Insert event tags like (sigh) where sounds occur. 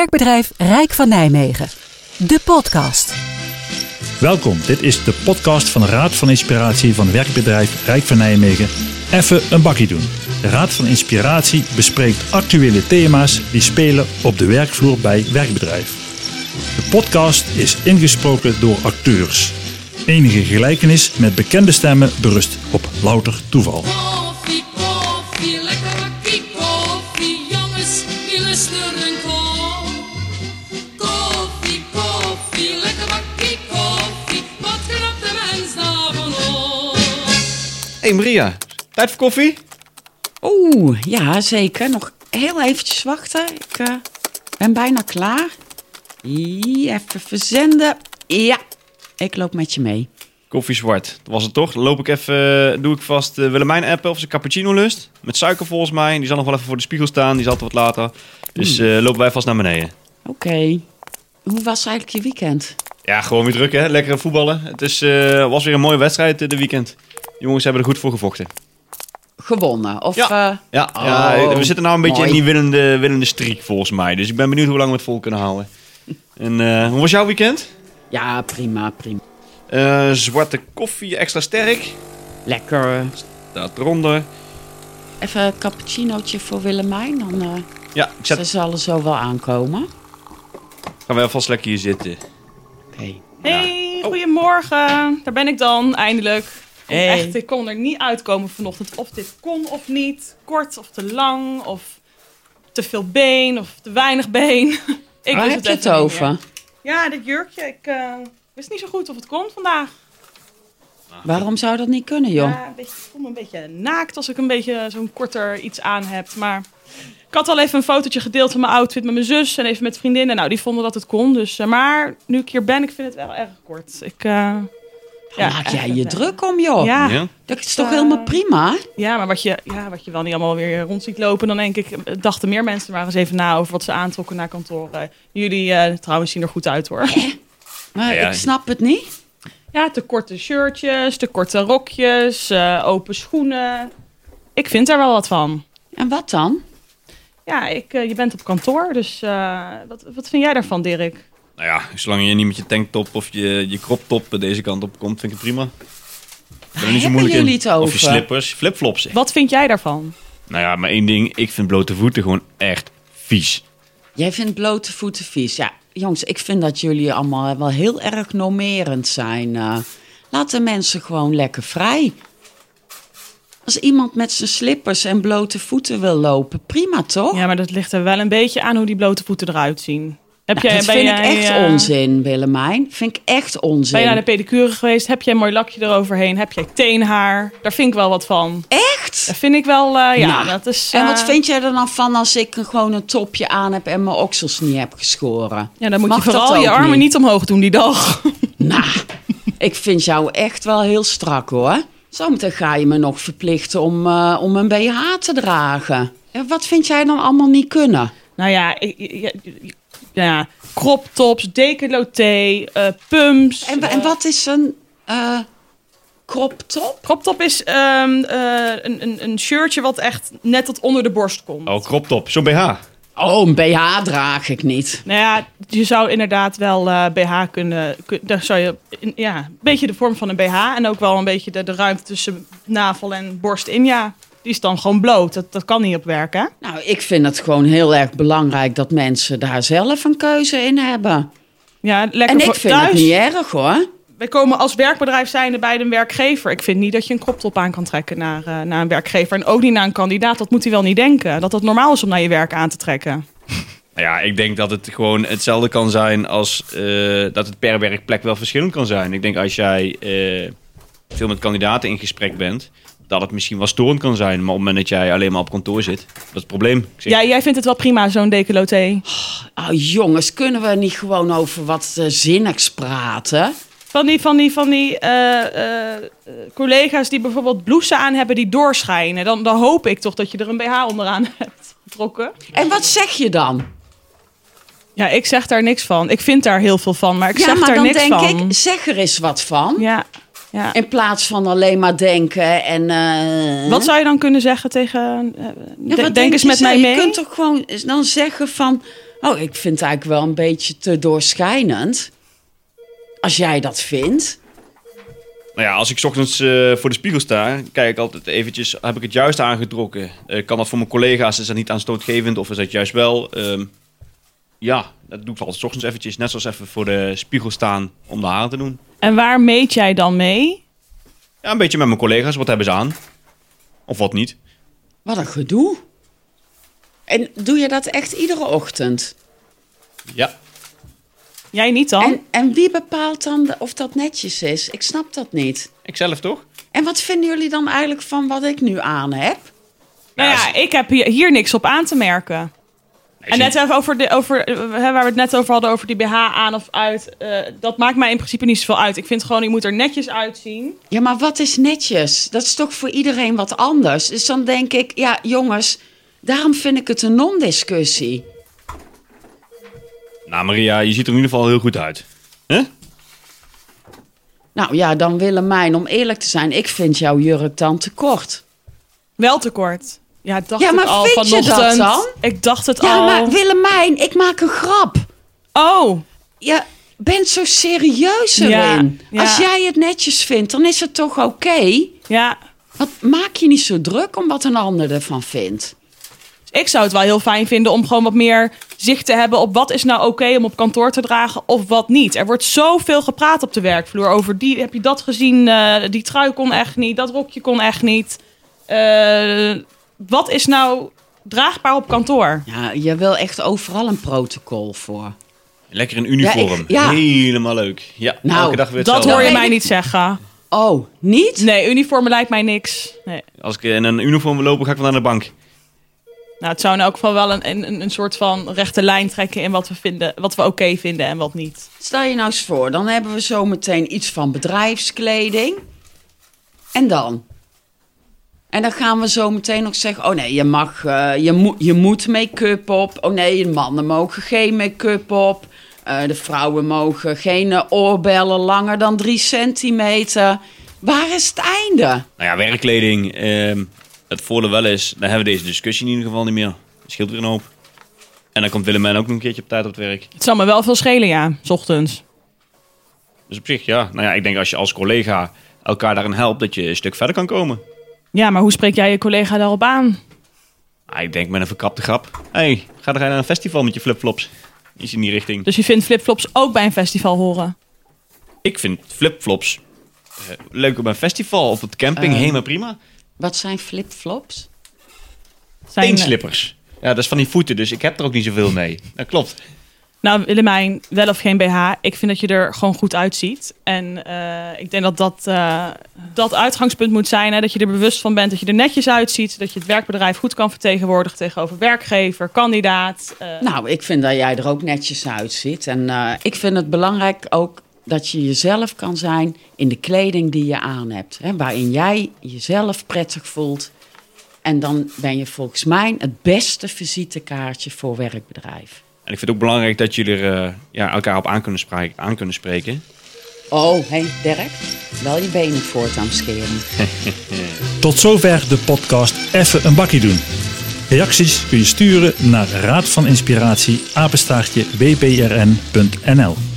Werkbedrijf Rijk van Nijmegen. De podcast. Welkom, dit is de podcast van de Raad van Inspiratie van werkbedrijf Rijk van Nijmegen. Even een bakkie doen. De Raad van Inspiratie bespreekt actuele thema's die spelen op de werkvloer bij werkbedrijf. De podcast is ingesproken door acteurs. Enige gelijkenis met bekende stemmen berust op louter toeval. Koffie, koffie, lekkere kwik koffie. Jongens, die luisteren kom. Koffie, koffie, lekkere kwik koffie. Wat knapt de mens daarvan op? hey Maria, tijd voor koffie? Oeh, ja zeker. Nog heel eventjes wachten. Ik eh, ben bijna klaar. Ie, Even verzenden. Ja, ik loop met je mee. Koffie zwart, dat was het toch? Dan loop ik even, doe ik vast eh, Willemijn appen of ze cappuccino lust. Met suiker volgens mij. Die zal nog wel even voor de spiegel staan, die zal altijd wat later. Dus eh, lopen wij vast naar beneden. Oké. Hoe was eigenlijk je weekend? Ja, gewoon weer druk hè, lekker voetballen. Het is, eh, was weer een mooie wedstrijd eh, dit weekend. De jongens hebben er goed voor gevochten. Gewonnen? Of, eh, Ja, oh, ja, we zitten nou een beetje mooi. in die winnende, winnende streak volgens mij. Dus ik ben benieuwd hoe lang we het vol kunnen houden. En eh, hoe was jouw weekend? Ja, prima, prima. Eh, zwarte koffie, extra sterk. Lekker. Staat eronder. Even een cappuccinootje voor Willemijn. Dan eh Ja, ik zet ze zal er zo wel aankomen. Gaan we alvast lekker hier zitten. Oké. Hey, Oh. goedemorgen. Daar ben ik dan, eindelijk. Kom Hey. Echt, ik kon er niet uitkomen vanochtend of dit kon of niet. Kort of te lang, of te veel been, of te weinig been. (laughs) Ik Waar wist heb je het even niet over? meer. Ja, dit jurkje. Ik eh, wist niet zo goed of het kon vandaag. Waarom zou dat niet kunnen, joh? Ja, een beetje, ik voel me een beetje naakt als ik een beetje zo'n korter iets aan heb. Maar ik had al even een fotootje gedeeld van mijn outfit met mijn zus en even met vriendinnen. Nou, die vonden dat het kon. Dus, eh, maar nu ik hier ben, ik vind het wel erg kort. Ik, eh, Daar maak jij je druk om, joh. Ja. Ja? Dat is toch Eh, helemaal prima? Ja, maar wat je, ja, wat je wel niet allemaal weer rond ziet lopen, dan denk ik, eh, dachten meer mensen maar eens even na over wat ze aantrokken naar kantoor. Eh, Jullie eh, trouwens zien er goed uit hoor. Maar Ja, ja. ik snap het niet. Ja, te korte shirtjes, te korte rokjes, eh, open schoenen. Ik vind daar wel wat van. En wat dan? Ja, ik, eh, je bent op kantoor, dus eh, wat, wat vind jij daarvan, Dirk? Nou ja, zolang je niet met je tanktop of je, je croptop deze kant op komt, vind ik het prima. Ik ben er niet zo hebben moeilijk in. jullie het over? Of je slippers, je flipflops. Wat vind jij daarvan? Nou ja, maar één ding, ik vind blote voeten gewoon echt vies. Jij vindt blote voeten vies. Ja, jongens, ik vind dat jullie allemaal wel heel erg normerend zijn. eh. laat de mensen gewoon lekker vrij. Als iemand met zijn slippers en blote voeten wil lopen, prima toch? Ja, maar dat ligt er wel een beetje aan hoe die blote voeten eruit zien. Heb Nou, dat ben vind jij, ik echt eh, onzin, Willemijn. Vind ik echt onzin. Ben je naar de pedicure geweest? Heb jij een mooi lakje eroverheen? Heb jij teenhaar? Daar vind ik wel wat van. Echt? Dat vind ik wel, eh, ja, Nou, dat is... En wat eh, vind jij er dan van als ik gewoon een topje aan heb en mijn oksels niet heb geschoren? Ja, dan moet Mag je dat vooral je ook armen niet? omhoog doen die dag. Nou, ik vind jou echt wel heel strak hoor. Zometeen ga je me nog verplichten om, eh, om een BH te dragen. En wat vind jij dan allemaal niet kunnen? nou ja, ik- ja, ja, crop tops, decolleté, eh pumps. En, wa- en wat is een eh crop top? Crop top is ehm, eh, een, een, een shirtje wat echt net tot onder de borst komt. Oh, croptop, zo'n BH. Oh, een BH draag ik niet. Nou ja, je zou inderdaad wel eh, BH kunnen... kun- daar zou je in- ja, een beetje de vorm van een BH... en ook wel een beetje de, de ruimte tussen navel en borst in. Ja, die is dan gewoon bloot. Dat, dat kan niet op werken. hè? Nou, ik vind het gewoon heel erg belangrijk dat mensen daar zelf een keuze in hebben. Ja, lekker En ik voor vind thuis. het niet erg hoor. Wij komen als werkbedrijf zijnde bij een werkgever. Ik vind niet dat je een kroptop aan kan trekken naar, eh, naar een werkgever. En ook niet naar een kandidaat. Dat moet hij wel niet denken. Dat dat normaal is om naar je werk aan te trekken. Nou ja, ik denk dat het gewoon hetzelfde kan zijn als eh, dat het per werkplek wel verschillend kan zijn. Ik denk als jij eh, veel met kandidaten in gesprek bent, dat het misschien wel storend kan zijn. Maar op het moment dat jij alleen maar op kantoor zit, dat is het probleem. Ik zeg, Ja, jij vindt het wel prima, zo'n decolleté. Oh, jongens, kunnen we niet gewoon over wat eh, zinnigs praten? Van die, van die, van die eh, eh, collega's die bijvoorbeeld blouses aan hebben die doorschijnen. Dan, dan hoop ik toch dat je er een BH onderaan (laughs) hebt getrokken. En wat zeg je dan? Ja, ik zeg daar niks van. Ik vind daar heel veel van, maar ik Ja, zeg maar daar dan niks denk van. ik, zeg er eens wat van. Ja, ja. In plaats van alleen maar denken en... eh, Wat zou je dan kunnen zeggen tegen... eh, Ja, de- wat denk eens je met zo? mij mee. Je kunt toch gewoon eens dan zeggen van... Oh, ik vind het eigenlijk wel een beetje te doorschijnend. Als jij dat vindt. Nou ja, als ik 's ochtends eh, voor de spiegel sta, kijk ik altijd eventjes, heb ik het juist aangetrokken? Eh, kan dat voor mijn collega's, is dat niet aanstootgevend of is dat juist wel? Ehm, ja, dat doe ik altijd 's ochtends eventjes, net zoals even voor de spiegel staan om de haren te doen. En waar meet jij dan mee? Ja, een beetje met mijn collega's, wat hebben ze aan? Of wat niet? Wat een gedoe. En doe je dat echt iedere ochtend? Ja, Jij niet dan? En, en wie bepaalt dan de- of dat netjes is? Ik snap dat niet. ikzelf toch? En wat vinden jullie dan eigenlijk van wat ik nu aan heb? nou Ja, ja, ik heb hier, hier niks op aan te merken. En net even over, de, over eh, hè, waar we het net over hadden, over die BH aan of uit. eh, dat maakt mij in principe niet zoveel uit. Ik vind gewoon, je moet er netjes uitzien. Ja, maar wat is netjes? Dat is toch voor iedereen wat anders? Dus dan denk ik, ja, jongens, daarom vind ik het een non-discussie. Nou Maria, je ziet er in ieder geval heel goed uit. hè? Nou ja, dan Willemijn, om eerlijk te zijn, ik vind jouw jurk dan te kort. Wel tekort. Ja, dacht Ja, maar ik al vind je dat vanochtend. dan? Ik dacht het Ja, al. maar Willemijn, ik maak een grap. Oh, Ja, ben zo serieus Ja, erin. ja. Als jij het netjes vindt, dan is het toch oké? ja. Want maak je niet zo druk om wat een ander ervan vindt. Ik zou het wel heel fijn vinden om gewoon wat meer zicht te hebben op wat is nou oké om op kantoor te dragen of wat niet. Er wordt zoveel gepraat op de werkvloer over die heb je dat gezien, eh, die trui kon echt niet, dat rokje kon echt niet. Eh, wat is nou draagbaar op kantoor? Ja, je wil echt overal een protocol voor. Lekker in uniform. Ja, ik- ja. Helemaal leuk. Ja, Nou, elke dag weer Dat hetzelfde. hoor je weet mij ik. niet zeggen. Oh, niet? Nee, uniformen lijkt mij niks. Nee. Als ik in een uniform wil lopen, ga ik wel naar de bank. Nou, het zou in elk geval wel een, een, een soort van rechte lijn trekken in wat we, vinden, wat we oké vinden en wat niet. Stel je nou eens voor, dan hebben we zometeen iets van bedrijfskleding. En dan? En dan gaan we zometeen nog zeggen: oh nee, je, mag, eh, je, moet je moet make-up op. Oh nee, de mannen mogen geen make-up op. Eh, de vrouwen mogen geen eh, oorbellen langer dan drie centimeter. Waar is het einde? Nou ja, werkkleding. ehm, het voordeel wel is, dan hebben we deze discussie in ieder geval niet meer. Dat scheelt weer een hoop. En dan komt Willemijn ook nog een keertje op tijd op het werk. Het zou me wel veel schelen, ja, s ochtends. Dus op zich, ja. Nou ja, ik denk als je als collega elkaar daarin helpt, dat je een stuk verder kan komen. Ja, maar hoe spreek jij je collega daarop aan? Ah, ik denk met een verkapte grap. Hé, hey, ga er naar een festival met je flipflops. Iets in die richting. Dus je vindt flipflops ook bij een festival horen. ik vind flipflops eh, leuk op een festival of op de camping. helemaal prima. Wat zijn flipflops? Zijn- eh, Teenslippers. Ja, dat is van die voeten, dus ik heb er ook niet zoveel mee. Dat klopt. Nou, Willemijn, wel of geen BH. Ik vind dat je er gewoon goed uitziet. En eh, ik denk dat dat, eh, dat uitgangspunt moet zijn. Hè? Dat je er bewust van bent, dat je er netjes uitziet. Dat je het werkbedrijf goed kan vertegenwoordigen tegenover werkgever, kandidaat. eh. Nou, ik vind dat jij er ook netjes uitziet. En eh, ik vind het belangrijk ook dat je jezelf kan zijn in de kleding die je aan hebt. Hè, waarin jij jezelf prettig voelt. En dan ben je volgens mij het beste visitekaartje voor werkbedrijf. En ik vind het ook belangrijk dat jullie er eh, ja, elkaar op aan kunnen, spreken, aan kunnen spreken. Oh, hé, hey, Dirk. Wel je benen voortaan scheren. Tot zover de podcast Even een bakkie doen. Reacties kun je sturen naar raadvaninspiratie@wbrn.nl.